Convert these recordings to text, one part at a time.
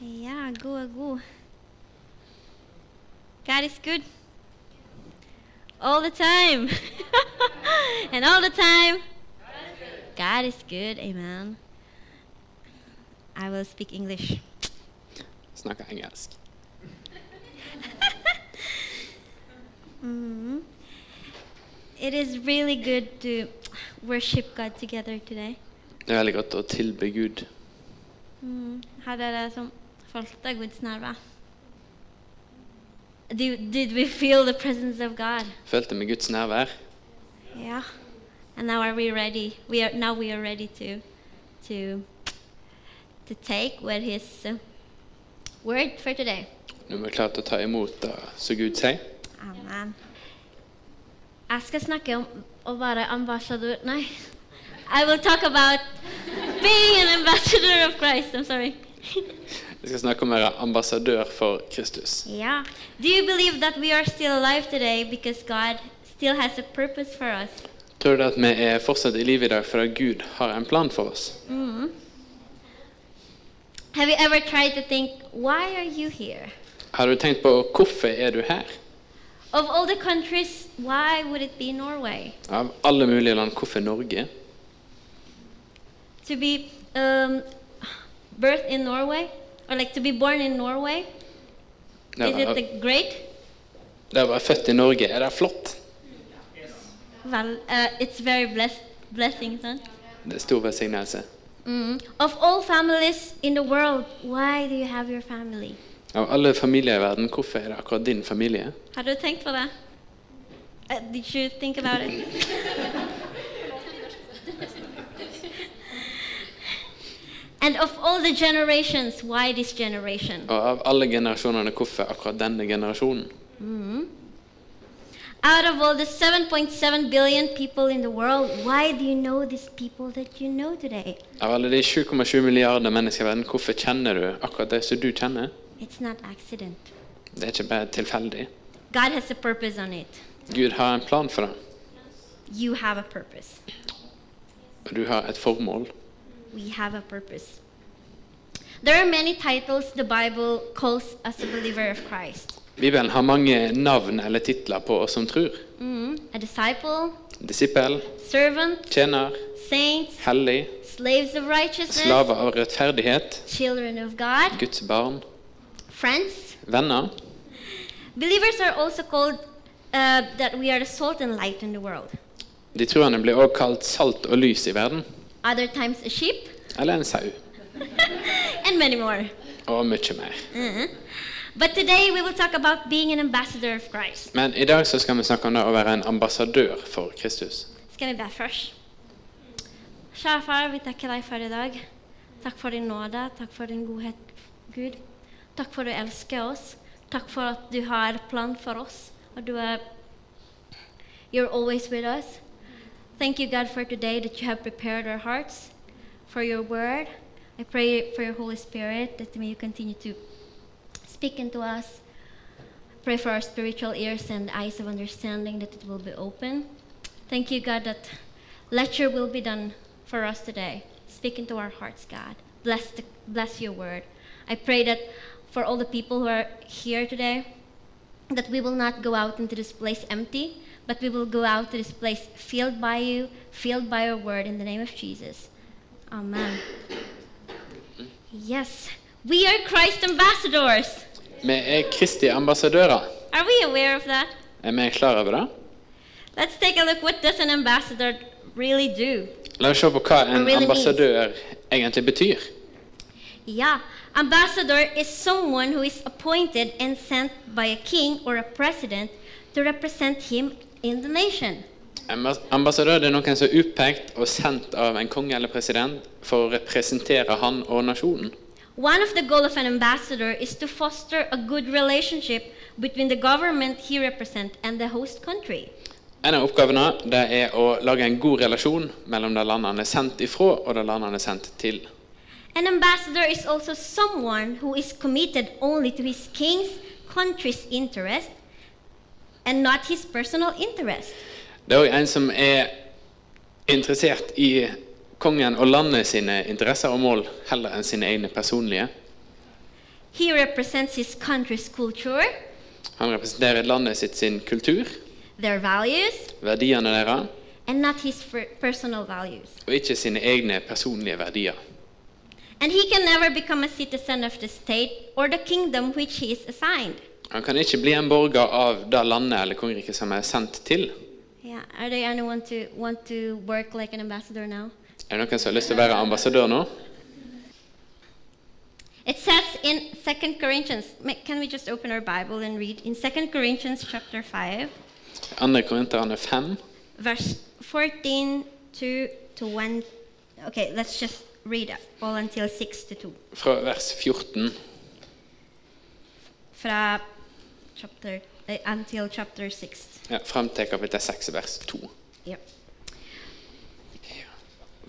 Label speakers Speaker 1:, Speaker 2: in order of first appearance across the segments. Speaker 1: Ja, god er god. God is good. All the time. and all the time. God is good. Amen. I will speak English.
Speaker 2: Snakker engelsk.
Speaker 1: Mhm. It is really good to worship God together today.
Speaker 2: Det er veldig godt å tilbe Gud.
Speaker 1: Mm. Hadde det som fulgte Guds nærvær. Did, did we feel the presence of God?
Speaker 2: Følte med Guds nærvær.
Speaker 1: Yeah. And now are we ready? We are now we are ready to to to take what his uh, word for today.
Speaker 2: Nå er vi klare til å ta imot det som Gud sier.
Speaker 1: Amen. Jeg skal snakke om å være ambassadør Nei. I will talk about being an ambassador of Christ. I'm sorry.
Speaker 2: Jeg skal snakke om å være ambassadør for Kristus.
Speaker 1: yeah. Do you believe that we are still alive today because God still has a purpose for us?
Speaker 2: Tror du at vi er fortsatt i live i dag fordi Gud har en plan for oss?
Speaker 1: Mm. Have you ever tried to think, why are you here?
Speaker 2: Har du tenkt på hvorfor er du her?
Speaker 1: Of all the countries, why would it be Norway?
Speaker 2: Av alle mulige land, hvorfor Norge?
Speaker 1: To be um, birthed in Norway? Or like to be born in Norway?
Speaker 2: Det
Speaker 1: Is it
Speaker 2: var,
Speaker 1: the great?
Speaker 2: det var født i Norge. Er det flott?
Speaker 1: Well, uh, it's very blessed, blessing, son.
Speaker 2: Det er stor velsignelse.
Speaker 1: Mm. Of all families in the world, why do you have your family?
Speaker 2: Av alle familier i verden, hvorfor er det akkurat din familie?
Speaker 1: Har du tenkt på det? Uh, did you think about it? and of all the generations, why this generation?
Speaker 2: Og av alle generasjonene, hvorfor akkurat denne generasjonen?
Speaker 1: Out of all the 7.7 billion people in the world, why do you know these people that you know today?
Speaker 2: Av alle de 7,7 milliarder mennesker i verden, hvorfor kjenner du akkurat de som du kjenner?
Speaker 1: It's not accident.
Speaker 2: Det er ikke bare tilfeldig.
Speaker 1: God has a purpose on it.
Speaker 2: Gud har en plan for det,
Speaker 1: You have a purpose.
Speaker 2: og du har et formål.
Speaker 1: We have a purpose. There are many titles the Bible calls us a believer of Christ.
Speaker 2: Bibelen har mange navn eller titler på oss som tror.
Speaker 1: Mm, a disciple,
Speaker 2: Disippel,
Speaker 1: servant,
Speaker 2: tjener,
Speaker 1: saints,
Speaker 2: hellig,
Speaker 1: slaves of righteousness,
Speaker 2: slave av rettferdighet,
Speaker 1: children of God,
Speaker 2: Guds barn,
Speaker 1: friends.
Speaker 2: venner.
Speaker 1: Believers are also called uh, that we are the salt and light in the world.
Speaker 2: De troende blir også kalt salt og lys i verden,
Speaker 1: Other times a sheep,
Speaker 2: eller en sau,
Speaker 1: and many more.
Speaker 2: og mye mer.
Speaker 1: Mhm. But today we will talk about being an ambassador of Christ.
Speaker 2: Men i dag så skal vi snakke om det å være en ambassadør for Kristus.
Speaker 1: Skal vi be først? Kjære far, vi takker deg for i dag. Takk for din nåde, takk for din godhet, Gud. Takk for at du elsker oss. Takk for at du har plan for oss, og du er You're always with us. Thank you, God, for today that you have prepared our hearts for your word. I pray for your Holy Spirit that may you continue to speak into us. Pray for our spiritual ears and eyes of understanding that it will be open. Thank you, God, that let your will be done for us today. Speak into our hearts, God. Bless, the, bless your word. I pray that for all the people who are here today, that we will not go out into this place empty, but we will go out to this place filled by you, filled by your word in the name of Jesus. Amen. Yes, we are Christ ambassadors.
Speaker 2: Vi er Kristi ambassadører.
Speaker 1: Are we aware of that?
Speaker 2: Er vi klar over det?
Speaker 1: Let's take a look what does an ambassador really do?
Speaker 2: La oss se på hva en
Speaker 1: Really means.
Speaker 2: ambassadør egentlig betyr.
Speaker 1: Yeah, ambassador is someone who is appointed and sent by a king or a president to represent him in the nation.
Speaker 2: En ambas- ambassadør det er noen som er utpekt og sendt av en konge eller president for å representere han og nasjonen.
Speaker 1: One of the goals of an ambassador is to foster a good relationship between the government he represents and the host country.
Speaker 2: En av oppgavene det er å lage en god relasjon mellom det landet han er sendt ifra, og det landet han er sendt til.
Speaker 1: An ambassador is also someone who is committed only to his king's country's interest and not his personal interest.
Speaker 2: Det er òg en som er interessert i kongen og landet sine interesser og mål heller enn sine egne personlige.
Speaker 1: He represents his country's culture,
Speaker 2: Han representerer landet sitt sin kultur,
Speaker 1: their values,
Speaker 2: verdiene deres,
Speaker 1: and not his fer- personal values.
Speaker 2: og ikke sine egne personlige verdier.
Speaker 1: And he can never become a citizen of the state or the kingdom which he is assigned.
Speaker 2: Han kan ikke bli en borger av det landet eller kongeriket som er sendt til.
Speaker 1: Yeah, are there anyone to want to work like an ambassador now?
Speaker 2: Er det noen som har lyst til å være ambassadør nå?
Speaker 1: It says in 2 Corinthians, ma- can we just open our Bible and read? In 2 Corinthians chapter 5,
Speaker 2: 2. Korinterne 5,
Speaker 1: verse 14 to, to 1. Okay, let's just read up all until 6 to 2.
Speaker 2: fra vers 14.
Speaker 1: Fra chapter, eh, until chapter 6.
Speaker 2: Ja, frem til kapittel 6, vers 2.
Speaker 1: Yep.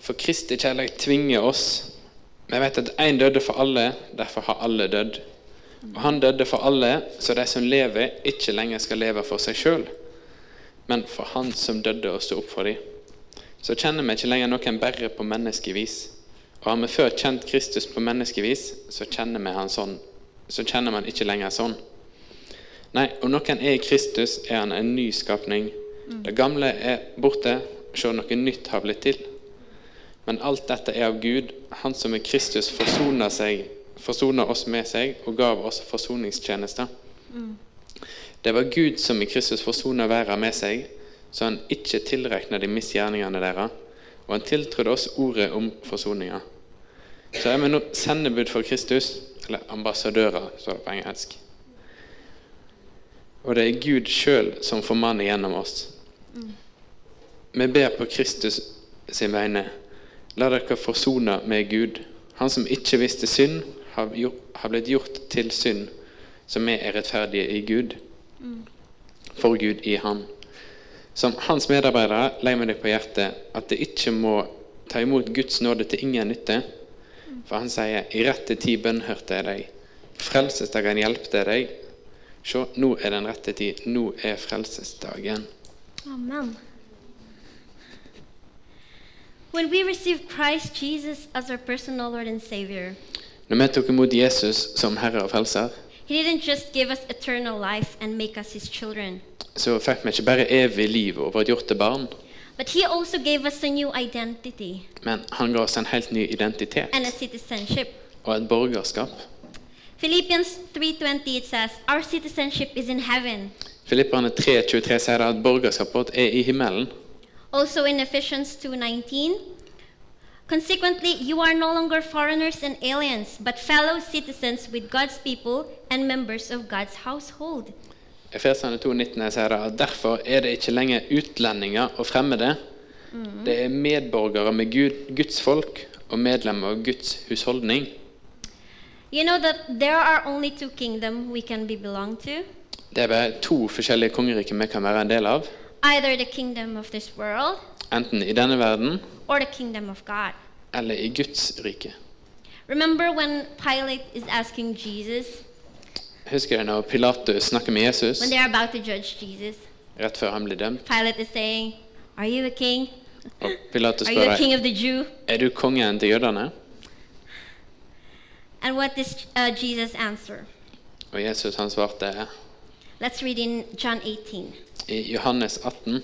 Speaker 2: For Kristi kjærlighet tvinger oss. Vi vet at én døde for alle, derfor har alle dødd. Og han døde for alle, så de som lever, ikke lenger skal leve for seg sjøl, men for han som døde og sto opp for dem. Så kjenner vi ikke lenger noen bare på menneskevis. Og har vi før kjent Kristus på menneskevis, så kjenner vi han sånn. Så kjenner man ikke lenger sånn. Nei, om noen er i Kristus, er han en ny skapning. Det gamle er borte, se noe nytt har blitt til. Men alt dette er av Gud, han som i Kristus forsoner, seg, forsoner oss med seg og gav oss forsoningstjenester. Det var Gud som i Kristus forsoner verden med seg, så han ikke tilrekna de misgjerningene deres, og han tiltrodde oss ordet om forsoninga. Så er vi nå sendebud for Kristus, eller ambassadører, står det på engelsk. Og det er Gud sjøl som formanner gjennom oss. Vi ber på Kristus sin vegne. La dere forsone med Gud. Han som ikke visste synd, har, gjo- har blitt gjort til synd, som vi er rettferdige i Gud. For Gud i ham. Som hans medarbeidere legger vi deg på hjertet at det ikke må ta imot Guds nåde til ingen nytte. For han sier, i rette tid bønnhørte jeg deg. Frelsesdagen hjelpte jeg deg. Se, nå er den rette tid. Nå er frelsesdagen.
Speaker 1: Amen. When we receive Christ Jesus as our personal Lord and Savior,
Speaker 2: Når vi tok imot Jesus som Herre og Frelser,
Speaker 1: He didn't just give us eternal life and make us His children,
Speaker 2: så fikk vi ikke bare evig liv og ble gjort til barn,
Speaker 1: but He also gave us a new identity
Speaker 2: men han ga oss en helt ny identitet
Speaker 1: and a citizenship.
Speaker 2: og et borgerskap.
Speaker 1: Philippians 3:20 it says, "Our citizenship is in heaven."
Speaker 2: Filipperne 3,23 sier da at borgerskapet vårt er i himmelen.
Speaker 1: Also in Ephesians 2:19, "Consequently, you are no longer foreigners and aliens, but fellow citizens with God's people and members of God's household."
Speaker 2: Efeserne 2,19 sier da at derfor er det ikke lenger utlendinger og fremmede. Det er medborgere med Gud, Guds folk og medlemmer av Guds husholdning.
Speaker 1: You know that there are only two kingdoms we can be belong to,
Speaker 2: Det er bare to forskjellige kongeriker vi kan være en del av.
Speaker 1: either the kingdom of this world
Speaker 2: Enten i denne verden
Speaker 1: or the kingdom of God.
Speaker 2: eller i Guds rike.
Speaker 1: Remember when Pilate is asking Jesus
Speaker 2: Husker du når Pilatus snakker med Jesus
Speaker 1: when they're about to judge Jesus?
Speaker 2: rett før han blir dømt?
Speaker 1: Pilate is saying, "Are you a king?
Speaker 2: Og Pilatus
Speaker 1: Are you
Speaker 2: spør
Speaker 1: the
Speaker 2: deg,
Speaker 1: king of the Jew?"
Speaker 2: er du kongen til jødene?
Speaker 1: And what does uh, Jesus answer?
Speaker 2: Og Jesus han svarte
Speaker 1: Let's read in John 18.
Speaker 2: i Johannes 18,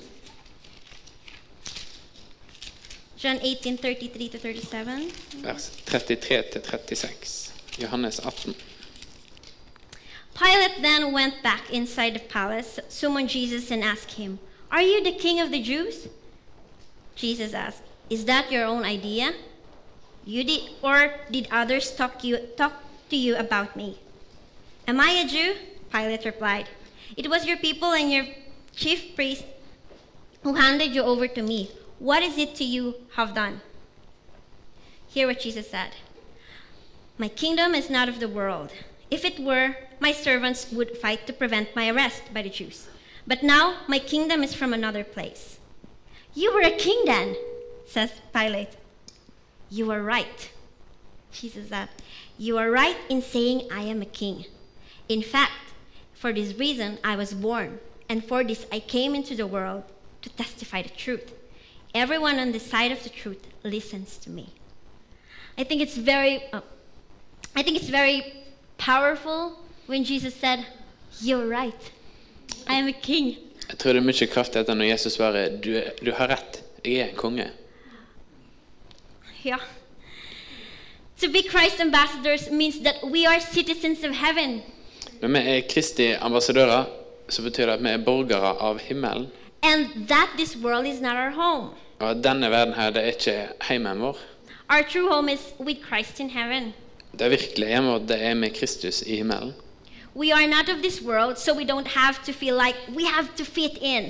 Speaker 1: John 18, 33 to 37.
Speaker 2: vers 33-36. Johannes 18.
Speaker 1: Pilate then went back inside the palace, summoned Jesus, and asked him, Are you the king of the Jews? Jesus asked, Is that your own idea? You did, or did others talk, you, talk to you about me? Am I a Jew? Pilate replied, It was your people and your chief priest who handed you over to me. What is it to you have done? Hear what Jesus said. My kingdom is not of the world. If it were, my servants would fight to prevent my arrest by the Jews. But now my kingdom is from another place. You were a king then, says Pilate. You are right. Jesus said, You are right in saying I am a king. In fact, for this reason I was born, and for this I came into the world to testify the truth. Everyone on the side of the truth uh, listens to me. I think it's very, oh, I think it's very powerful when Jesus said, You're right. I am a king.
Speaker 2: Jeg tror det er mye kraft i dette når Jesus svarer du, er- du har rett, jeg er en konge.
Speaker 1: Yeah. To be Christ's ambassadors means that we are citizens of heaven
Speaker 2: Når vi er Kristi ambassadører, så betyr det at vi er borgere av himmelen.
Speaker 1: and that this world is not our home.
Speaker 2: Og at denne verden her, det er ikke heimen vår.
Speaker 1: Our true home is with Christ in heaven.
Speaker 2: Det virkelige hjemmet vårt, det er med Kristus i himmelen.
Speaker 1: We are not of this world, so we don't have to feel like we have to fit in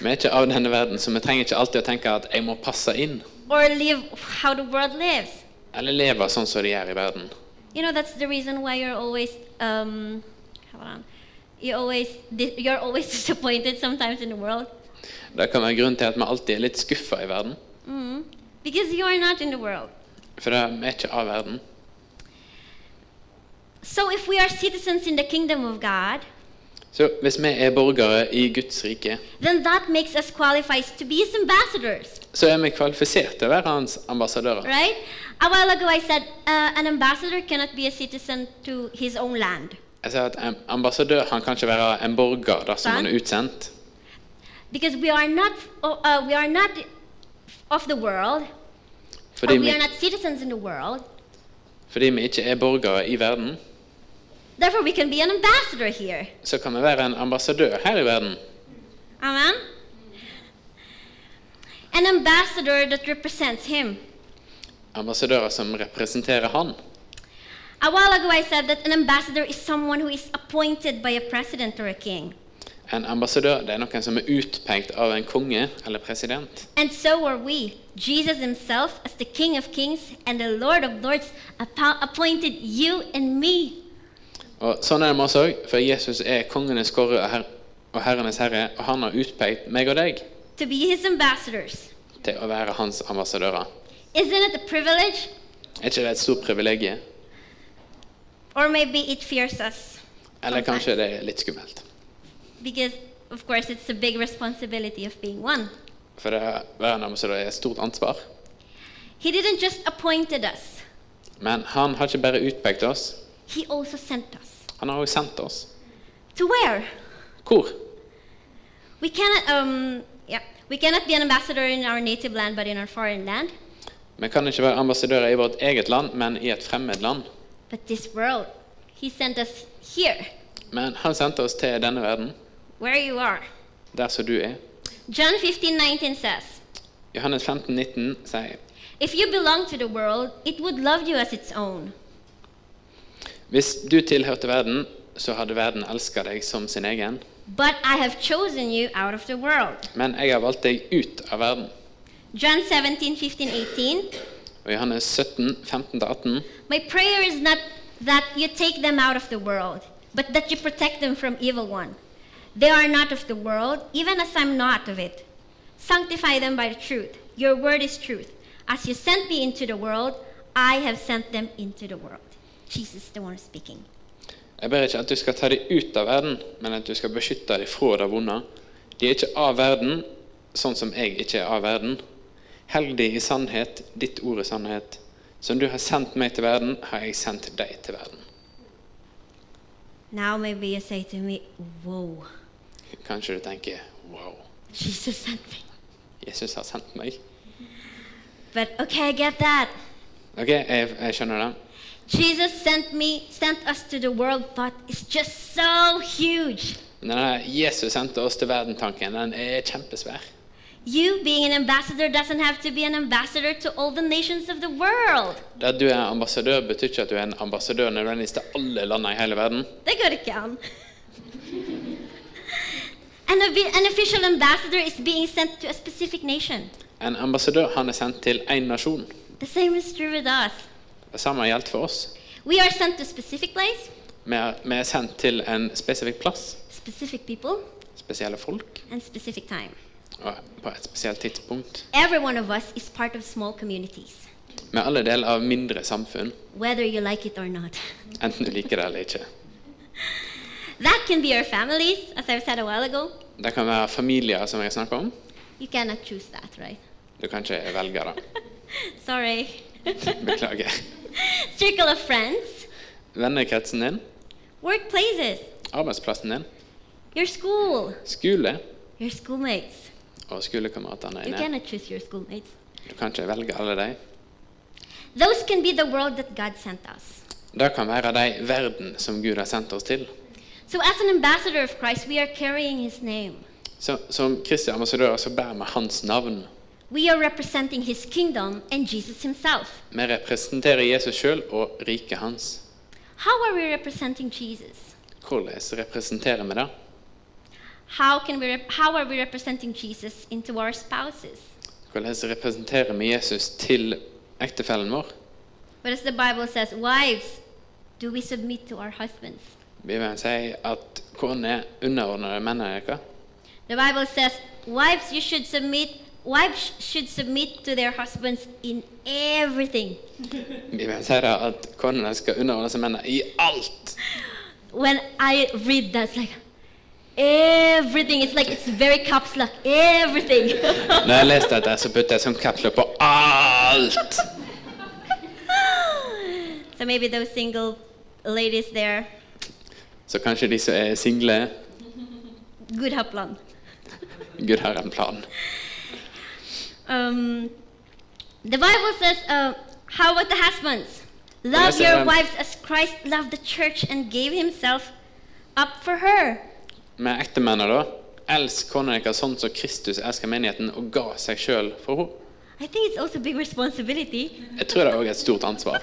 Speaker 2: Vi er ikke av denne verden, så vi trenger ikke alltid å tenke at jeg må passe inn.
Speaker 1: or live how the world lives.
Speaker 2: Eller leve sånn som de gjør i verden.
Speaker 1: You know, that's the reason why you're always um, hold on. You always di- you're always disappointed sometimes in the world
Speaker 2: Det kan være grunnen til at vi alltid er litt skuffa i verden.
Speaker 1: mm. because you are not in the world.
Speaker 2: For det, vi er ikke av verden.
Speaker 1: So if we are citizens in the kingdom of God,
Speaker 2: Så hvis vi er borgere i Guds rike,
Speaker 1: then that makes us qualified to be his ambassadors,
Speaker 2: så er vi kvalifisert til å være hans ambassadører.
Speaker 1: right? A while ago I said uh, an ambassador cannot be a citizen to his own land
Speaker 2: Jeg sier at en ambassadør han kan ikke være en borger dersom han er utsendt.
Speaker 1: because we are not uh, uh, we are not of the world, or
Speaker 2: Fordi
Speaker 1: we
Speaker 2: vi,
Speaker 1: are not citizens in the world.
Speaker 2: fordi vi ikke er borgere i verden,
Speaker 1: Therefore, we can be an ambassador here.
Speaker 2: så kan vi være en ambassadør her i verden.
Speaker 1: Amen. An ambassador that represents him.
Speaker 2: Ambassadører som representerer han.
Speaker 1: A while ago, I said that an ambassador is someone who is appointed by a president or a king.
Speaker 2: En ambassadør det er noen som er utpekt av en konge eller president.
Speaker 1: And so are we. Jesus himself, as the King of Kings and the Lord of Lords, appo- appointed you and me.
Speaker 2: Og Sånn er det med oss òg, for Jesus er kongenes kåre og, her og herrenes herre, og han har utpekt meg og deg
Speaker 1: To be his ambassadors.
Speaker 2: til å være hans ambassadører.
Speaker 1: Isn't it a privilege?
Speaker 2: Er ikke det et stort privilegium?
Speaker 1: Or maybe it fears us.
Speaker 2: Eller kanskje det er litt skummelt?
Speaker 1: Because, of course, it's a big responsibility of being one.
Speaker 2: For det å være en ambassadør er et stort ansvar.
Speaker 1: He didn't just appointed us,
Speaker 2: Men han har ikke bare utpekt oss,
Speaker 1: he also sent us.
Speaker 2: han har òg sendt oss.
Speaker 1: To where?
Speaker 2: Hvor?
Speaker 1: We cannot, um, yeah, we cannot be an ambassador in our native land, but in our foreign land.
Speaker 2: Vi kan ikke være ambassadører i vårt eget land, men i et fremmed land.
Speaker 1: But this world, He sent us here,
Speaker 2: Men han sendte oss til denne verden,
Speaker 1: where you are.
Speaker 2: der som du er.
Speaker 1: John 15, 19 says,
Speaker 2: Johannes 15, 19 sier
Speaker 1: If you belong to the world, it would love you as its own.
Speaker 2: Hvis du tilhørte verden, så hadde verden elska deg som sin egen.
Speaker 1: But I have chosen you out of the world.
Speaker 2: Men jeg har valgt deg ut av verden.
Speaker 1: John 17, 15, 18.
Speaker 2: Og Johannes 17, 15-18.
Speaker 1: My prayer is not that you take them out of the world, but that you protect them from evil one. They are not of the world, even as I'm not of it. Sanctify them by the truth. Your word is truth. As you sent me into the world, I have sent them into the world. Jesus, the one speaking.
Speaker 2: Jeg ber ikke at du skal ta dem ut av verden, men at du skal beskytte dem fra det vonde. De er ikke av verden, sånn som jeg ikke er av verden. Helg dem i sannhet, ditt ord er sannhet. Som du har sendt meg til verden, har jeg sendt deg til verden.
Speaker 1: Now maybe you say to me, Whoa,
Speaker 2: Kanskje du tenker wow,
Speaker 1: Jesus sent me.
Speaker 2: Jesus har sendt meg.
Speaker 1: But okay, I get that.
Speaker 2: Ok, jeg, jeg skjønner det.
Speaker 1: Jesus sent me, sent us to the world, but it's just so huge.
Speaker 2: Men denne Jesus sendte oss til verden-tanken, den er kjempesvær.
Speaker 1: You being an ambassador doesn't have to be an ambassador to all the nations of the world.
Speaker 2: Det at du er ambassadør, betyr ikke at du er en ambassadør nødvendigvis til alle landene i hele verden.
Speaker 1: Det går ikke an. an, obvi- an official ambassador is being sent to a specific nation.
Speaker 2: En ambassadør han er sendt til én nasjon.
Speaker 1: The same is true with us.
Speaker 2: Det samme gjelder for oss.
Speaker 1: We are sent to specific place,
Speaker 2: Vi er, vi er sendt til en spesifikk plass,
Speaker 1: specific people,
Speaker 2: spesielle folk,
Speaker 1: and specific time.
Speaker 2: og på et spesielt tidspunkt.
Speaker 1: Every one of us is part of small communities,
Speaker 2: Vi er alle del av mindre samfunn,
Speaker 1: whether you like it or not.
Speaker 2: enten du liker det eller ikke.
Speaker 1: That can be our families, as I've said a while ago.
Speaker 2: Det kan være familier som jeg snakker om.
Speaker 1: You cannot choose that, right?
Speaker 2: Du kan ikke velge det.
Speaker 1: Sorry.
Speaker 2: Beklager.
Speaker 1: Circle of friends.
Speaker 2: Vennekretsen din,
Speaker 1: workplaces,
Speaker 2: arbeidsplassen din,
Speaker 1: your school,
Speaker 2: skole
Speaker 1: your schoolmates.
Speaker 2: og skolekameratene
Speaker 1: You
Speaker 2: dine.
Speaker 1: cannot choose your schoolmates.
Speaker 2: Du kan ikke velge alle de.
Speaker 1: Those can be the world that God sent us.
Speaker 2: Det kan være de verden som Gud har sendt oss til.
Speaker 1: So, as an ambassador of Christ, we are carrying his name.
Speaker 2: Så, som Kristi ambassadører så bærer vi hans navn.
Speaker 1: We are representing his kingdom and Jesus himself.
Speaker 2: Vi representerer Jesus sjøl og riket hans.
Speaker 1: How are we representing Jesus?
Speaker 2: Hvordan representerer vi det?
Speaker 1: How, can we rep- how are we representing Jesus into our spouses?
Speaker 2: Hvordan representerer vi Jesus til ektefellen vår?
Speaker 1: But as the Bible says, wives, do we submit to our husbands?
Speaker 2: Bibelen sier at koner er underordnede mennene deres.
Speaker 1: The Bible says, wives, you should submit. Wives should submit to their husbands in everything.
Speaker 2: Bibelen sier det at konene skal underordne seg mennene i alt.
Speaker 1: When I read that, it's like everything. It's like it's very caps lock. Everything.
Speaker 2: Når jeg leste dette, så putta jeg sånn kapsler på alt.
Speaker 1: so maybe those single ladies there,
Speaker 2: Så kanskje de som er single,
Speaker 1: good help plan.
Speaker 2: Gud har en plan.
Speaker 1: Um, the Bible says, uh, "How about the husbands? Love
Speaker 2: Yes,
Speaker 1: your
Speaker 2: um,
Speaker 1: wives as Christ loved the church and gave himself up for her."
Speaker 2: Med ektemennene, da. Elsk kona deres sånn som Kristus elsker menigheten og ga seg sjøl for henne.
Speaker 1: I think it's also a big responsibility.
Speaker 2: Jeg tror det er også et stort ansvar.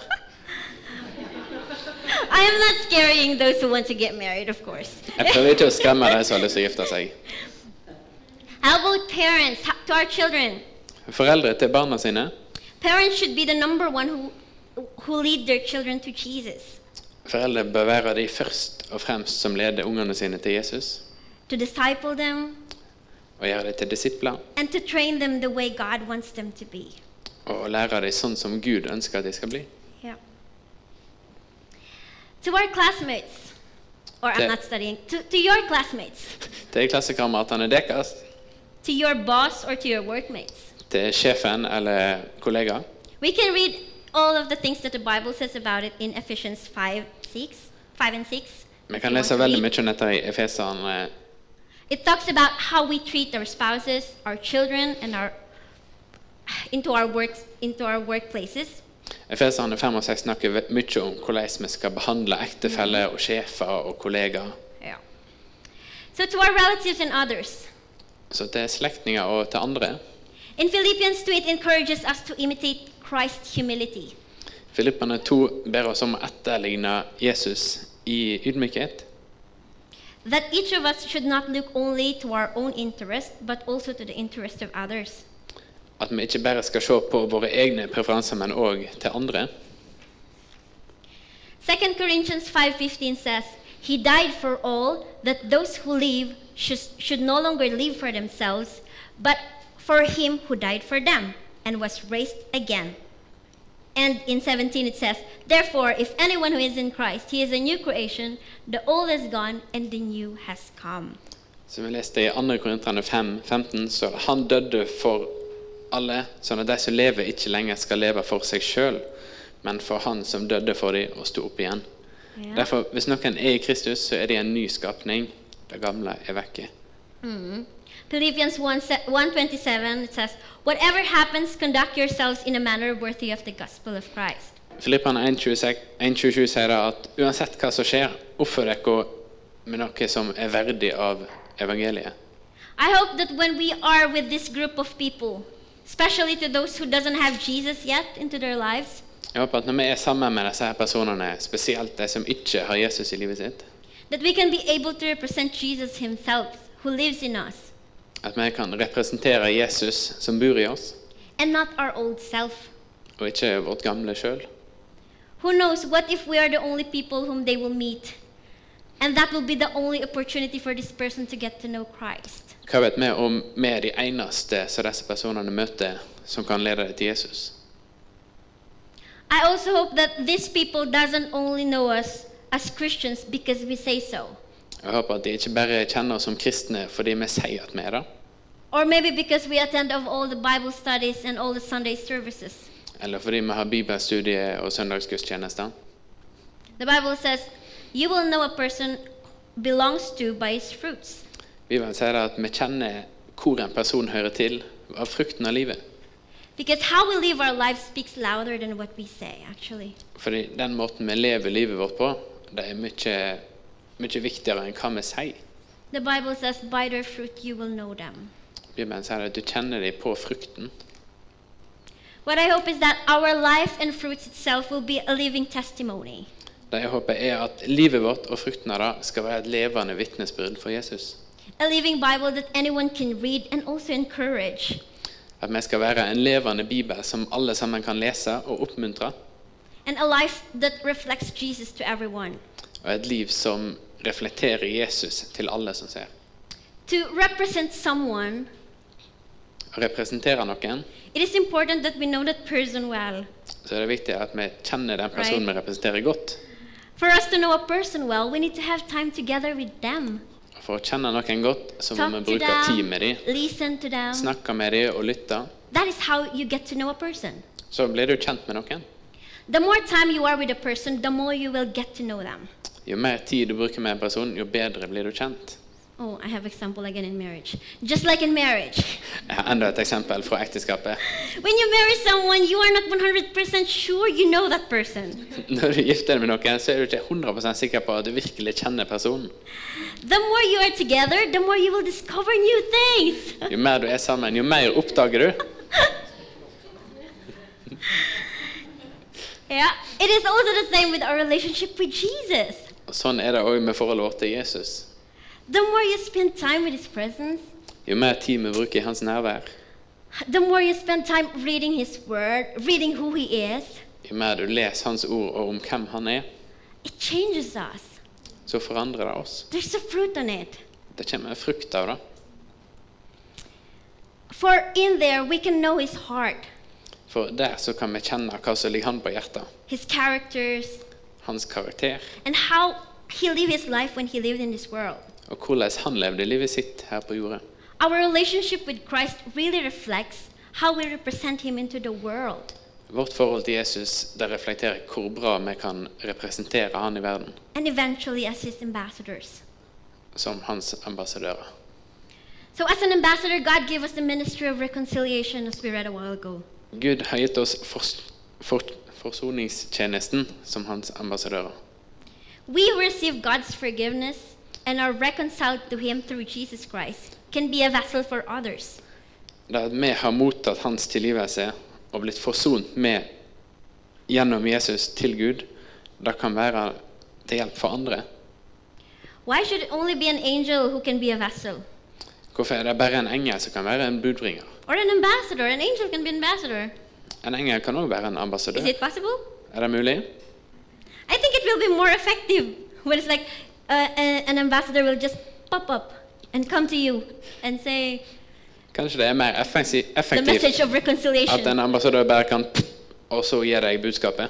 Speaker 1: I am not scaring those who want to get married, of course.
Speaker 2: Jeg prøver ikke å skremme de som har lyst til å gifte seg.
Speaker 1: How about parents Talk to our children?
Speaker 2: Foreldre til barna sine.
Speaker 1: Parents should be the number one who who lead their children to Jesus,
Speaker 2: Foreldre bør være de først og fremst som leder ungene sine til Jesus,
Speaker 1: to disciple them,
Speaker 2: og gjøre dem til disipler,
Speaker 1: and to train them the way God wants them to be.
Speaker 2: og lære dem sånn som Gud ønsker at de skal bli.
Speaker 1: Yeah. To our classmates, or
Speaker 2: To-
Speaker 1: I'm not studying, to, to your classmates,
Speaker 2: Til klassekameratene deres,
Speaker 1: to your boss or to your workmates.
Speaker 2: til sjefen eller kollega.
Speaker 1: We can read all of the things that the Bible says about it in Ephesians 5, 6, 5 and 6.
Speaker 2: Vi
Speaker 1: if
Speaker 2: kan
Speaker 1: you
Speaker 2: lese
Speaker 1: want to
Speaker 2: veldig
Speaker 1: read.
Speaker 2: mye om dette i Efeserne.
Speaker 1: It talks about how we treat our spouses, our children, and our into our works into our workplaces.
Speaker 2: Efeserne 5 og 6 snakker ve- mye om hvordan vi skal behandle ektefeller og sjefer og kollegaer.
Speaker 1: Yeah. So to our relatives and others.
Speaker 2: Så til slektninger og til andre.
Speaker 1: In Philippians 2, it encourages us to imitate Christ's humility.
Speaker 2: Filipperne 2 ber oss om å etterligne Jesus i ydmykhet.
Speaker 1: that each of us should not look only to our own interest, but also to the interest of others.
Speaker 2: At vi ikke bare skal se på våre egne preferanser, men òg til andre.
Speaker 1: 2 Corinthians 5:15 says, "He died for all that those who live should, should no longer live for themselves, but for him who died for them and was raised again." And in 17 it says, "Therefore, if anyone who is in Christ, he is a new creation; the old is gone and the new has come."
Speaker 2: Som vi leste i 2. Korinterne 5, 15, så han døde for alle, sånn at de som lever ikke lenger skal leve for seg sjøl, men for han som døde for dem og sto opp igjen.
Speaker 1: Yeah.
Speaker 2: Derfor, hvis noen er i Kristus, så er de en ny skapning. Det gamle er vekke.
Speaker 1: Philippians 1, se- 1:27 it says, "Whatever happens, conduct yourselves in a manner worthy of the gospel of Christ."
Speaker 2: Filipperne 1.27 sier da at uansett hva som skjer, oppfør dere med noe som er verdig av evangeliet.
Speaker 1: I hope that when we are with this group of people, especially to those who doesn't have Jesus yet into their lives,
Speaker 2: Jeg håper at når vi er sammen med disse her personene, spesielt de som ikke har Jesus i livet sitt,
Speaker 1: that we can be able to represent Jesus himself who lives in us
Speaker 2: at vi kan representere Jesus som bor i oss,
Speaker 1: and not our old self.
Speaker 2: og ikke vårt gamle sjøl.
Speaker 1: Who knows what if we are the only people whom they will meet? And that will be the only opportunity for this person to get to know Christ.
Speaker 2: Hva vet vi om vi er de eneste som disse personene møter, som kan lede dem til Jesus?
Speaker 1: I also hope that these people doesn't only know us as Christians because we say so,
Speaker 2: Jeg håper at de ikke bare kjenner oss som kristne fordi vi sier at vi er det,
Speaker 1: or maybe because we attend of all the Bible studies and all the Sunday services.
Speaker 2: eller fordi vi har bibelstudie og søndagsgudstjenester,
Speaker 1: The Bible says, You will know a person belongs to by his fruits.
Speaker 2: Bibelen sier det at vi kjenner hvor en person hører til, av frukten av livet.
Speaker 1: Because how we live our life speaks louder than what we say, actually.
Speaker 2: Fordi den måten vi lever livet vårt på, det er mye, mye viktigere enn hva vi sier.
Speaker 1: The Bible says, By their fruit you will know them.
Speaker 2: Bibelen sier at du kjenner dem på frukten.
Speaker 1: What I hope is that our life and fruits itself will be a living testimony.
Speaker 2: Det jeg håper, er at livet vårt og frukten av det skal være et levende vitnesbyrd for Jesus.
Speaker 1: A living Bible that anyone can read and also encourage.
Speaker 2: At vi skal være en levende bibel som alle sammen kan lese og oppmuntre.
Speaker 1: And a life that reflects Jesus to everyone.
Speaker 2: Og et liv som reflekterer Jesus til alle som ser.
Speaker 1: To represent someone,
Speaker 2: Å representere noen,
Speaker 1: it is important that we know that person well.
Speaker 2: så er det viktig at vi kjenner den personen vi representerer godt.
Speaker 1: For us to know a person well, we need to have time together with them.
Speaker 2: Og for å kjenne noen godt, så må
Speaker 1: Talk to
Speaker 2: vi bruke tid
Speaker 1: them, Um.
Speaker 2: med dem.
Speaker 1: listen to them.
Speaker 2: Snakke med dem og lytte.
Speaker 1: That is how you get to know a person.
Speaker 2: Så blir du kjent med noen.
Speaker 1: The more time you are with a person, the more you will get to know them.
Speaker 2: Jo mer tid du bruker med en person, jo bedre blir du kjent.
Speaker 1: Oh, I have example again in marriage. Just like in marriage.
Speaker 2: Jeg har enda et eksempel fra ekteskapet.
Speaker 1: When you marry someone, you are not 100% sure you know that person.
Speaker 2: Når du gifter deg med noen, så er du ikke 100 sikker på at du virkelig kjenner personen.
Speaker 1: The more you are together, the more you will discover new things.
Speaker 2: Jo mer du er sammen, jo mer oppdager du.
Speaker 1: yeah. It is also the same with our relationship with Jesus.
Speaker 2: Og Sånn er det òg med forholdet vårt til Jesus.
Speaker 1: The more you spend time with his presence,
Speaker 2: Jo mer tid vi bruker i hans nærvær,
Speaker 1: the more you spend time reading his word, reading who he is,
Speaker 2: jo mer du leser hans ord og om hvem han er,
Speaker 1: it changes us.
Speaker 2: så forandrer det oss.
Speaker 1: There's a fruit on it.
Speaker 2: Det kommer frukt av det.
Speaker 1: For in there we can know his heart,
Speaker 2: For der så kan vi kjenne hva som ligger han på hjertet.
Speaker 1: his characters,
Speaker 2: Hans karakter,
Speaker 1: and how he lived his life when he lived in this world.
Speaker 2: og hvordan han levde livet sitt her på jorda.
Speaker 1: Our relationship with Christ really reflects how we represent him into the world.
Speaker 2: Vårt forhold til Jesus det reflekterer hvor bra vi kan representere han i verden
Speaker 1: and eventually as his ambassadors.
Speaker 2: som hans ambassadører.
Speaker 1: So, as an ambassador, God gave us the ministry of reconciliation, as we read a while ago.
Speaker 2: Gud har gitt oss fors for forsoningstjenesten som hans ambassadører.
Speaker 1: We receive God's forgiveness and are reconciled to him through Jesus Christ, can be a vessel for others.
Speaker 2: Det at vi har mottatt hans tilgivelse og blitt forsont med gjennom Jesus til Gud, det kan være til hjelp for andre.
Speaker 1: Why should it only be an angel who can be a vessel?
Speaker 2: Hvorfor er det bare en engel som kan være en budbringer?
Speaker 1: Or an ambassador? An angel can be an ambassador.
Speaker 2: En engel kan òg være en
Speaker 1: Is
Speaker 2: ambassadør.
Speaker 1: it possible?
Speaker 2: Er det mulig?
Speaker 1: I think it will be more effective when it's like uh, a- an ambassador will just pop up and come to you and say
Speaker 2: Kanskje det er mer effektiv-
Speaker 1: the
Speaker 2: effektivt
Speaker 1: message of reconciliation.
Speaker 2: at en ambassadør bare kan pff, og så gi deg budskapet?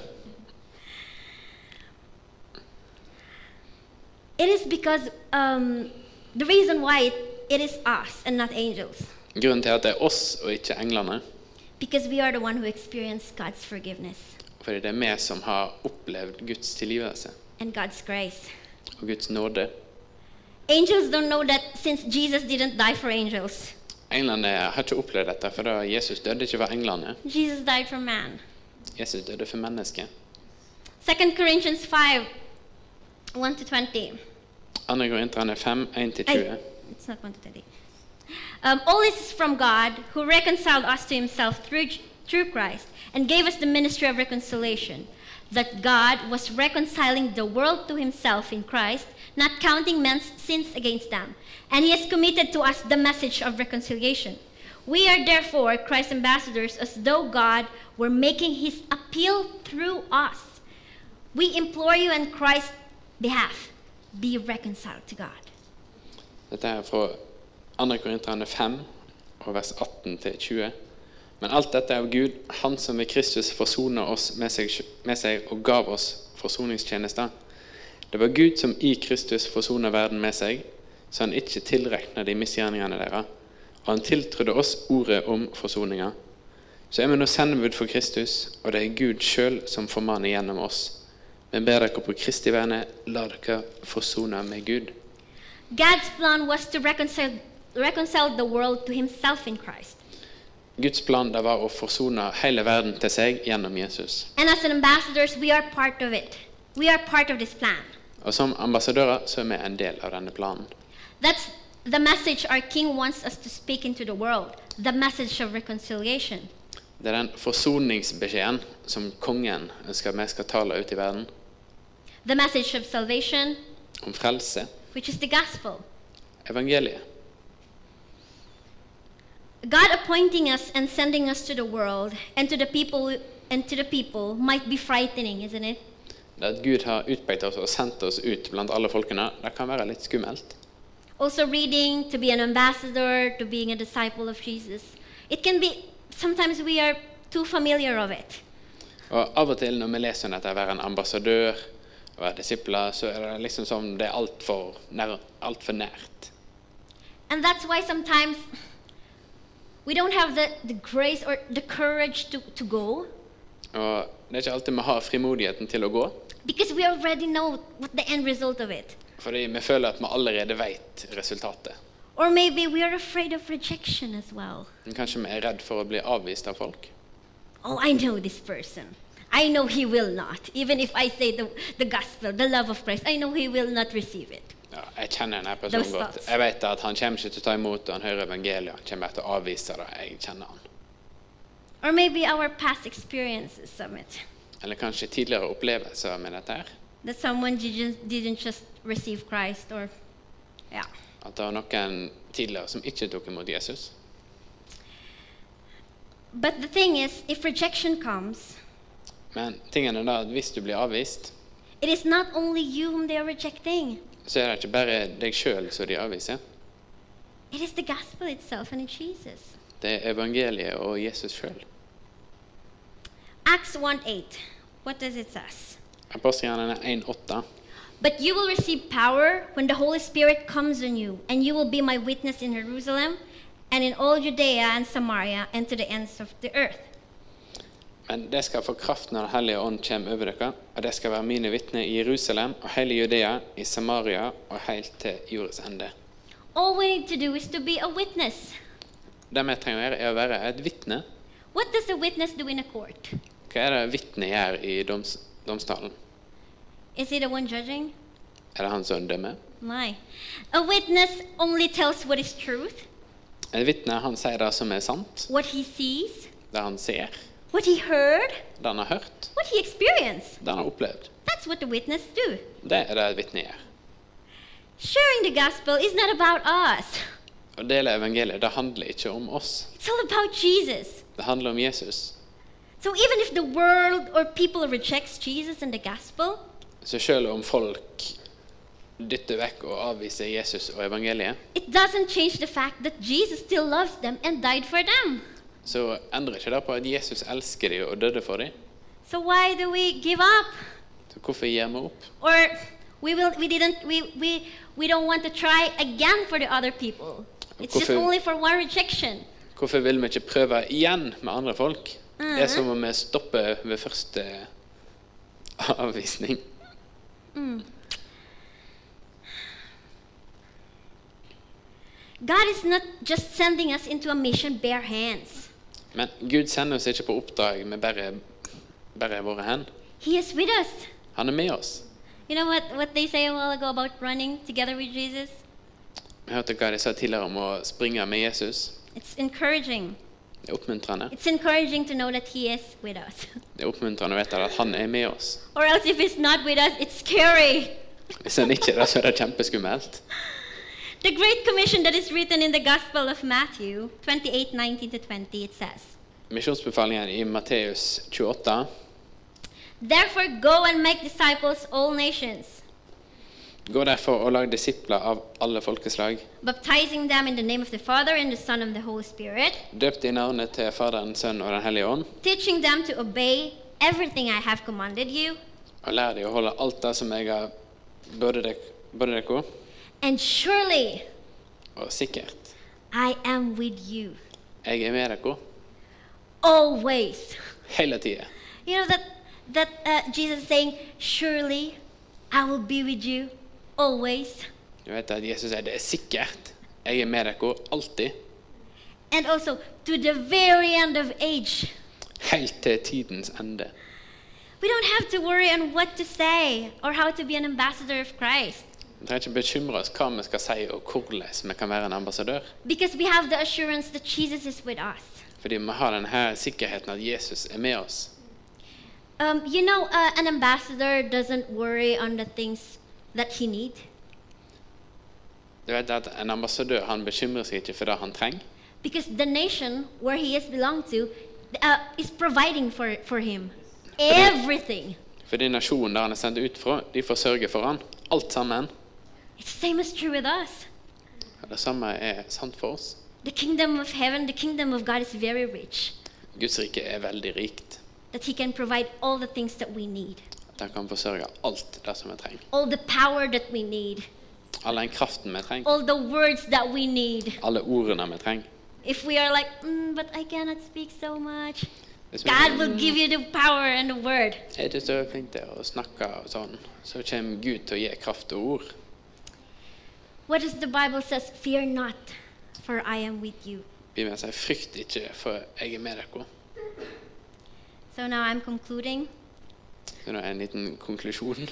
Speaker 1: It is because um, the reason why it, it is us and not angels,
Speaker 2: Grunnen til at det er oss og ikke englene,
Speaker 1: because we are the one who experience God's forgiveness
Speaker 2: fordi det er vi som har opplevd Guds tilgivelse
Speaker 1: and God's grace.
Speaker 2: og Guds nåde.
Speaker 1: Angels don't know that since Jesus didn't die for angels,
Speaker 2: Englene har ikke opplevd dette, for da Jesus døde ikke for englene.
Speaker 1: Jesus died for man.
Speaker 2: Jesus døde for mennesket.
Speaker 1: 2 Corinthians 5 1 to 20.
Speaker 2: 2. Korinterne 5, 1-20.
Speaker 1: Ay, it's not 1 to 20. Um, all this is from God, who reconciled us to himself through, through Christ and gave us the ministry of reconciliation. That God was reconciling the world to himself in Christ, not counting men's sins against them. And he has committed to us the message of reconciliation. We are therefore Christ's ambassadors, as though God were making his appeal through us. We implore you on Christ's behalf be reconciled to God.
Speaker 2: Dette er fra 2. Korinterne 5, og vers 18-20. Men alt dette er av Gud, Han som ved Kristus forsoner oss med seg, med seg og gav oss forsoningstjenester. Det var Gud som i Kristus forsoner verden med seg, så han ikke tilregna de misgjerningene deres. Og han tiltrodde oss ordet om forsoninga. Så er vi nå sendebud for Kristus, og det er Gud sjøl som formaner gjennom oss. Vi ber dere på Kristi vegne, la dere forsone med Gud.
Speaker 1: God's plan was to reconcile, reconcile the world to himself in Christ.
Speaker 2: Guds plan det var å forsone hele verden til seg gjennom Jesus.
Speaker 1: And as ambassadors, we are part of it. We are part of this plan.
Speaker 2: Og som ambassadører så er vi en del av denne planen.
Speaker 1: That's the message our King wants us to speak into the world the message of reconciliation.
Speaker 2: Det er den forsoningsbeskjeden som kongen ønsker at vi skal tale ut i verden,
Speaker 1: the message of salvation,
Speaker 2: om frelse,
Speaker 1: which is the gospel.
Speaker 2: evangeliet.
Speaker 1: God appointing us and sending us to the world and to the people and to the people might be frightening, isn't it?
Speaker 2: Det at Gud har utpekt oss og sendt oss ut blant alle folkene, det kan være litt skummelt.
Speaker 1: Also reading to be an ambassador, to being a disciple of Jesus. It can be sometimes we are too familiar of it.
Speaker 2: Og av og til når vi leser om dette å være en ambassadør og være disipler, så er det liksom som det er altfor nær, alt for nært.
Speaker 1: And that's why sometimes we don't have the, the grace or the courage to, to go
Speaker 2: Og det er ikke alltid vi har frimodigheten til å gå,
Speaker 1: because we already know what the end result of it.
Speaker 2: fordi vi føler at vi allerede vet resultatet.
Speaker 1: Or maybe we are afraid of rejection as well.
Speaker 2: Men kanskje vi er redd for å bli avvist av folk.
Speaker 1: Oh, I know this person. I know he will not. Even if I say the, the gospel, the love of Christ, I know he will not receive it.
Speaker 2: Ja, jeg kjenner denne personen
Speaker 1: Those
Speaker 2: godt.
Speaker 1: thoughts.
Speaker 2: Jeg vet at han kommer ikke til å ta imot og han hører evangeliet. Han kommer bare til å avvise det. Jeg kjenner han.
Speaker 1: Or maybe our past experiences of it.
Speaker 2: Eller kanskje tidligere opplevelser med dette her.
Speaker 1: That someone didn't, didn't just receive Christ or. Yeah.
Speaker 2: At det var noen tidligere som ikke tok imot Jesus.
Speaker 1: But the thing is, if rejection comes,
Speaker 2: Men tingen er da at hvis du blir avvist,
Speaker 1: it is not only you whom they are rejecting,
Speaker 2: så er det ikke bare deg sjøl som de avviser.
Speaker 1: it is the gospel itself and it's Jesus.
Speaker 2: Det er evangeliet og Jesus sjøl.
Speaker 1: Acts 1 8. What does it says?
Speaker 2: Apostelgjerningene 1,8.
Speaker 1: But you will receive power when the Holy Spirit comes on you, and you will be my witness in Jerusalem and in all Judea and Samaria and to the ends of the earth.
Speaker 2: Men det skal få kraft når Den hellige ånd kommer over dere, og det skal være mine vitner i Jerusalem og hele Judea, i Samaria og helt til jordens ende.
Speaker 1: All we need to do is to be a witness.
Speaker 2: Det vi trenger å gjøre, er å være et vitne.
Speaker 1: What does a witness do in a court?
Speaker 2: Hva er det vitnet gjør i doms domstalen?
Speaker 1: Is he the one judging?
Speaker 2: Er det han som dømmer?
Speaker 1: My. A witness only tells what is truth,
Speaker 2: Et vitne han sier det som er sant,
Speaker 1: what he sees,
Speaker 2: det han ser,
Speaker 1: what he heard,
Speaker 2: det han har hørt,
Speaker 1: what he experienced.
Speaker 2: det han har opplevd.
Speaker 1: That's what the witness do.
Speaker 2: Det er det et vitne gjør.
Speaker 1: Sharing the gospel is not about us.
Speaker 2: Å dele evangeliet, det handler ikke om oss.
Speaker 1: It's all about Jesus.
Speaker 2: Det handler om Jesus.
Speaker 1: So even if the world or people rejects Jesus and the gospel,
Speaker 2: Så selv om folk dytter vekk og avviser Jesus og evangeliet,
Speaker 1: it doesn't change the fact that Jesus still loves them and died for them.
Speaker 2: så endrer ikke det på at Jesus elsker dem og døde for dem.
Speaker 1: So why do we give up?
Speaker 2: Så hvorfor gir vi opp?
Speaker 1: Or we will we didn't we we, we don't want to try again for the other people. It's just
Speaker 2: Hvorfor-
Speaker 1: only for one rejection.
Speaker 2: Hvorfor vil vi ikke prøve igjen med andre folk? Det er som om vi stopper ved første avvisning.
Speaker 1: God is not just sending us into a mission bare hands.
Speaker 2: Men Gud sender oss ikke på oppdrag med bare, bare våre hender.
Speaker 1: He is with us.
Speaker 2: Han er med oss.
Speaker 1: You know what, what they say a while ago about running together with Jesus?
Speaker 2: Vi hørte hva de sa tidligere om å springe med Jesus.
Speaker 1: It's encouraging.
Speaker 2: Det er oppmuntrende.
Speaker 1: It's encouraging to know that He is with us.
Speaker 2: Det er oppmuntrende å vite at han er med oss.
Speaker 1: Or else, if he's not with us, it's scary.
Speaker 2: Hvis han ikke er det, så er det kjempeskummelt.
Speaker 1: The Great Commission that is written in the Gospel of Matthew 28 19 to 20, it says,
Speaker 2: Misjonsbefalingen i Matteus 28.
Speaker 1: Therefore, go and make disciples all nations,
Speaker 2: Gå derfor og lag disipler av alle folkeslag.
Speaker 1: baptizing them in the name of the Father and the Son and the Holy Spirit,
Speaker 2: Døpt i navnet til Faderen, Sønnen og Den hellige ånd,
Speaker 1: teaching them to obey everything I have commanded you,
Speaker 2: og lær dem å holde alt det som jeg har både dek- både dere
Speaker 1: and surely
Speaker 2: og sikkert.
Speaker 1: I am with you
Speaker 2: Jeg er med dere
Speaker 1: always.
Speaker 2: hele tida.
Speaker 1: You know that that uh, Jesus is saying, Surely I will be with you always.
Speaker 2: Du vet at Jesus sier det er sikkert. Jeg er med dere alltid,
Speaker 1: And also to the very end of age.
Speaker 2: helt til tidens ende.
Speaker 1: We don't have to worry on what to say or how to be an ambassador of Christ
Speaker 2: Vi trenger ikke bekymre oss hva vi skal si og hvordan vi kan være en ambassadør.
Speaker 1: because we have the assurance that Jesus is with us.
Speaker 2: Fordi vi har denne sikkerheten at Jesus er med oss.
Speaker 1: Um, you know, uh, an ambassador doesn't worry on the things that he needs.
Speaker 2: Du vet at En ambassadør han bekymrer seg ikke for det han trenger,
Speaker 1: because the nation where he is belonged to uh, is providing for, for him everything.
Speaker 2: fordi nasjonen der han er sendt ut fra, de får sørge for han. Alt sammen.
Speaker 1: It's the same as true with us.
Speaker 2: Og Det samme er sant for oss.
Speaker 1: The kingdom of heaven, the kingdom of God is very rich,
Speaker 2: Guds rike er veldig rikt.
Speaker 1: that he can provide all the things that we need,
Speaker 2: At han kan forsørge alt det som vi trenger.
Speaker 1: all the power that we need,
Speaker 2: All den kraften vi trenger.
Speaker 1: all the words that we need.
Speaker 2: Alle ordene vi trenger.
Speaker 1: If we are like, mm, but I cannot speak so much,
Speaker 2: Hvis vi
Speaker 1: God will give you the power and the word.
Speaker 2: er ikke så flink til å snakke og sånn, så kommer Gud til å gi kraft og ord.
Speaker 1: What does the Bible says? Fear not, for I am with you.
Speaker 2: Bibelen sier 'frykt ikke, for jeg er med dere'.
Speaker 1: So now I'm concluding.
Speaker 2: Så nå er en liten konklusjon.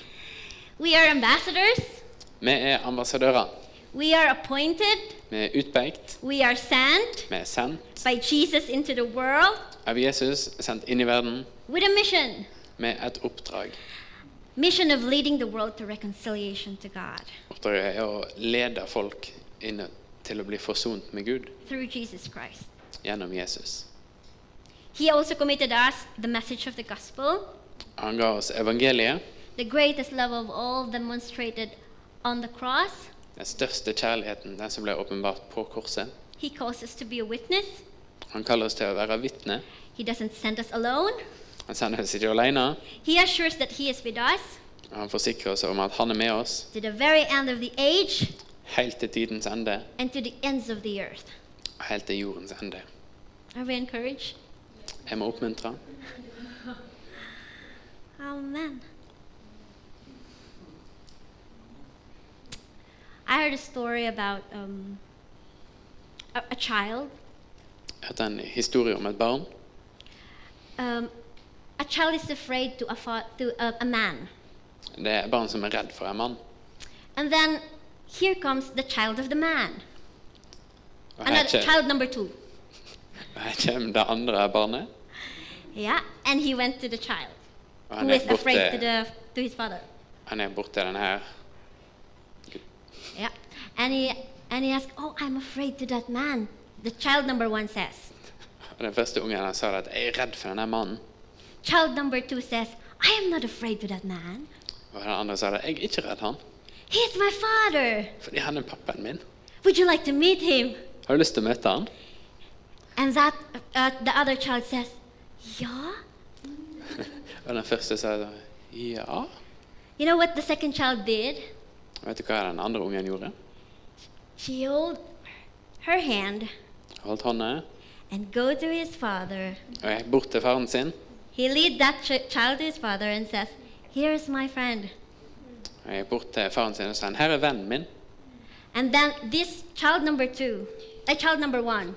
Speaker 1: We are ambassadors.
Speaker 2: Vi er ambassadører.
Speaker 1: We are appointed,
Speaker 2: Vi er utpekt.
Speaker 1: we are sent
Speaker 2: Vi er sendt
Speaker 1: by Jesus into the world
Speaker 2: av Jesus, sendt inn i verden
Speaker 1: with a mission
Speaker 2: med et oppdrag.
Speaker 1: mission of leading the world to reconciliation to God
Speaker 2: Oppdraget er å lede folk inn til å bli forsont med Gud
Speaker 1: through Jesus Christ.
Speaker 2: gjennom Jesus.
Speaker 1: He also committed us the message of the gospel,
Speaker 2: Han ga oss evangeliet,
Speaker 1: the greatest love of all demonstrated on the cross.
Speaker 2: den største kjærligheten, den som ble åpenbart på korset.
Speaker 1: He calls us to be a witness.
Speaker 2: Han kaller oss til å være vitne.
Speaker 1: He doesn't send us alone.
Speaker 2: Han sender oss ikke alene.
Speaker 1: He assures that He is with us
Speaker 2: og Han forsikrer oss om at han er med oss
Speaker 1: to the very end of the age
Speaker 2: helt til tidens ende
Speaker 1: and to the ends of the earth.
Speaker 2: og helt til jordens ende.
Speaker 1: Are we encouraged?
Speaker 2: Jeg må oppmuntre.
Speaker 1: Amen. I heard a story about um, a, a child.
Speaker 2: Jeg hørte en historie om et barn.
Speaker 1: Um, a child is afraid to a, fa- to a, a man,
Speaker 2: Det er et barn som er redd for en mann.
Speaker 1: and then here comes the child of the man,
Speaker 2: Og her,
Speaker 1: another
Speaker 2: kjem,
Speaker 1: child number two.
Speaker 2: og her kommer det andre barnet.
Speaker 1: Yeah, and he went to the child
Speaker 2: Og
Speaker 1: who
Speaker 2: han
Speaker 1: is
Speaker 2: er
Speaker 1: afraid to
Speaker 2: borte,
Speaker 1: the to his father.
Speaker 2: han er borte den her.
Speaker 1: Yeah, and he and he asked, "Oh, I'm afraid to that man." The child number one says.
Speaker 2: Og den første ungen han sa det at 'jeg er redd for denne mannen'.
Speaker 1: Child number two says, "I am not afraid to that man."
Speaker 2: Og den andre sa det 'jeg er ikke redd han,
Speaker 1: He's my father.
Speaker 2: fordi han er pappaen min'.
Speaker 1: Would you like to meet him?
Speaker 2: Har du lyst til å møte han?
Speaker 1: And that uh, the other child says, Yeah.
Speaker 2: Og den første sa da 'ja'.
Speaker 1: You know what the second child did?
Speaker 2: Vet du hva den andre ungen gjorde?
Speaker 1: She held her hand
Speaker 2: Holdt hånda
Speaker 1: and go to his father.
Speaker 2: og gikk bort til faren sin.
Speaker 1: He lead that ch- child to his father and says, Here is my friend.
Speaker 2: Og gikk bort til faren sin og sa 'her er vennen min'.
Speaker 1: And then this child number two, uh, child number one,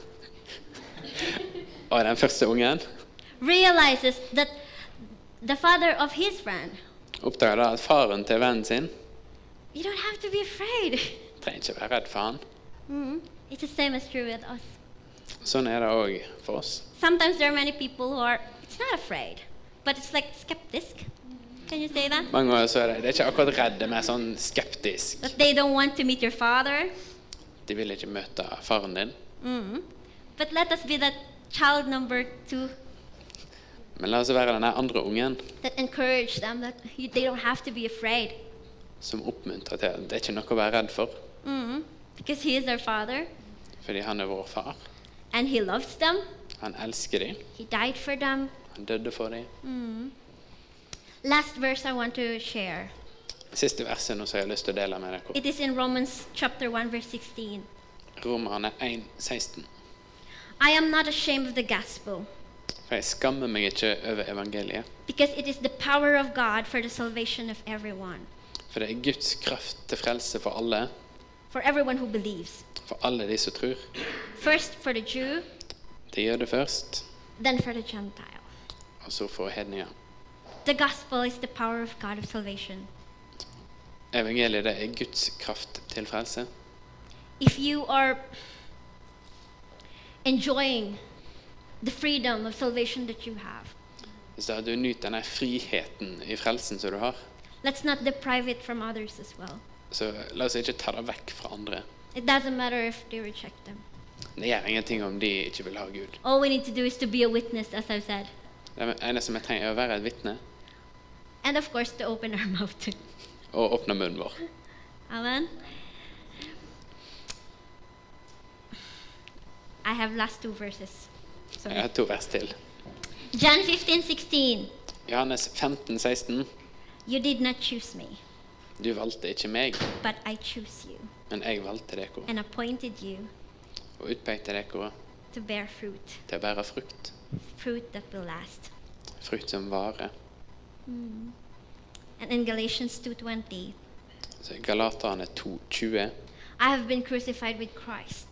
Speaker 2: Og den første ungen
Speaker 1: realizes that the father of his friend,
Speaker 2: oppdaga da at faren til vennen sin
Speaker 1: you don't have to be afraid.
Speaker 2: trenger ikke være redd for han.
Speaker 1: Mm. It's the same as true with us.
Speaker 2: Sånn er det òg for oss.
Speaker 1: sometimes there are many people who are it's not afraid but it's like skeptic can you say that
Speaker 2: Mange ganger så er det, det er ikke akkurat redd, det er mer sånn skeptisk.
Speaker 1: that they don't want to meet your father
Speaker 2: De vil ikke møte faren din.
Speaker 1: mm. but let us be that child number two
Speaker 2: Men la oss være den andre ungen
Speaker 1: that encourage them that you, they don't have to be afraid
Speaker 2: som oppmuntrer til at det er ikke noe å være redd for,
Speaker 1: mm. because he is their father
Speaker 2: fordi han er vår far.
Speaker 1: and he loves them
Speaker 2: Han elsker dem.
Speaker 1: he died for them
Speaker 2: Han døde for dem.
Speaker 1: last verse i want to share
Speaker 2: Siste verset nå som jeg har lyst til å dele med dere.
Speaker 1: it is in romans chapter 1 verse 16
Speaker 2: Romerne 1,16.
Speaker 1: i am not ashamed of the gospel
Speaker 2: For jeg skammer meg ikke over evangeliet.
Speaker 1: because it is the power of God for the salvation of everyone,
Speaker 2: For det er Guds kraft til frelse for alle,
Speaker 1: for everyone who believes.
Speaker 2: for alle de som tror.
Speaker 1: First for the Jew,
Speaker 2: De gjør det først,
Speaker 1: then for the Gentile.
Speaker 2: og så for hedninger.
Speaker 1: The gospel is the power of God of salvation.
Speaker 2: Evangeliet det er Guds kraft til frelse.
Speaker 1: If you are enjoying the freedom of salvation that you have,
Speaker 2: Hvis da du nyter denne friheten i frelsen som du har,
Speaker 1: let's not deprive it from others as well.
Speaker 2: så la oss ikke ta det vekk fra andre.
Speaker 1: It doesn't matter if they reject them.
Speaker 2: Det gjør ingenting om de ikke vil ha Gud.
Speaker 1: All we need to do is to be a witness, as I've said,
Speaker 2: Det eneste vi trenger, er å være et vitne
Speaker 1: and of course to open our mouth. too.
Speaker 2: og åpne munnen vår.
Speaker 1: Amen. I have last two verses.
Speaker 2: Jeg
Speaker 1: Sorry.
Speaker 2: har to vers til.
Speaker 1: John 15, 16.
Speaker 2: Johannes 15, 16.
Speaker 1: You did not choose me,
Speaker 2: Du valgte ikke meg,
Speaker 1: but I choose you
Speaker 2: men jeg valgte dere
Speaker 1: and appointed you
Speaker 2: og utpekte dere
Speaker 1: to bear fruit,
Speaker 2: til å bære frukt.
Speaker 1: fruit that will last.
Speaker 2: Frukt som vare.
Speaker 1: And in Galatians 2:20,
Speaker 2: Så Galaterne 2,20.
Speaker 1: I have been crucified with Christ,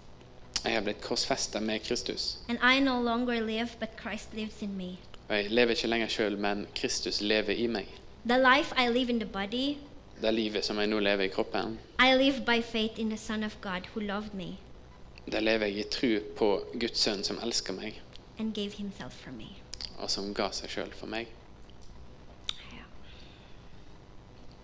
Speaker 2: Jeg har blitt korsfesta med Kristus.
Speaker 1: and I no longer live, but Christ lives in me.
Speaker 2: Og jeg lever ikke lenger sjøl, men Kristus lever i meg.
Speaker 1: The life I live in the body,
Speaker 2: Det er livet som jeg nå lever i kroppen,
Speaker 1: I live by faith in the Son of God who loved me
Speaker 2: det lever jeg i tru på Guds sønn som elsker meg,
Speaker 1: and gave himself for me.
Speaker 2: og som ga seg sjøl for meg.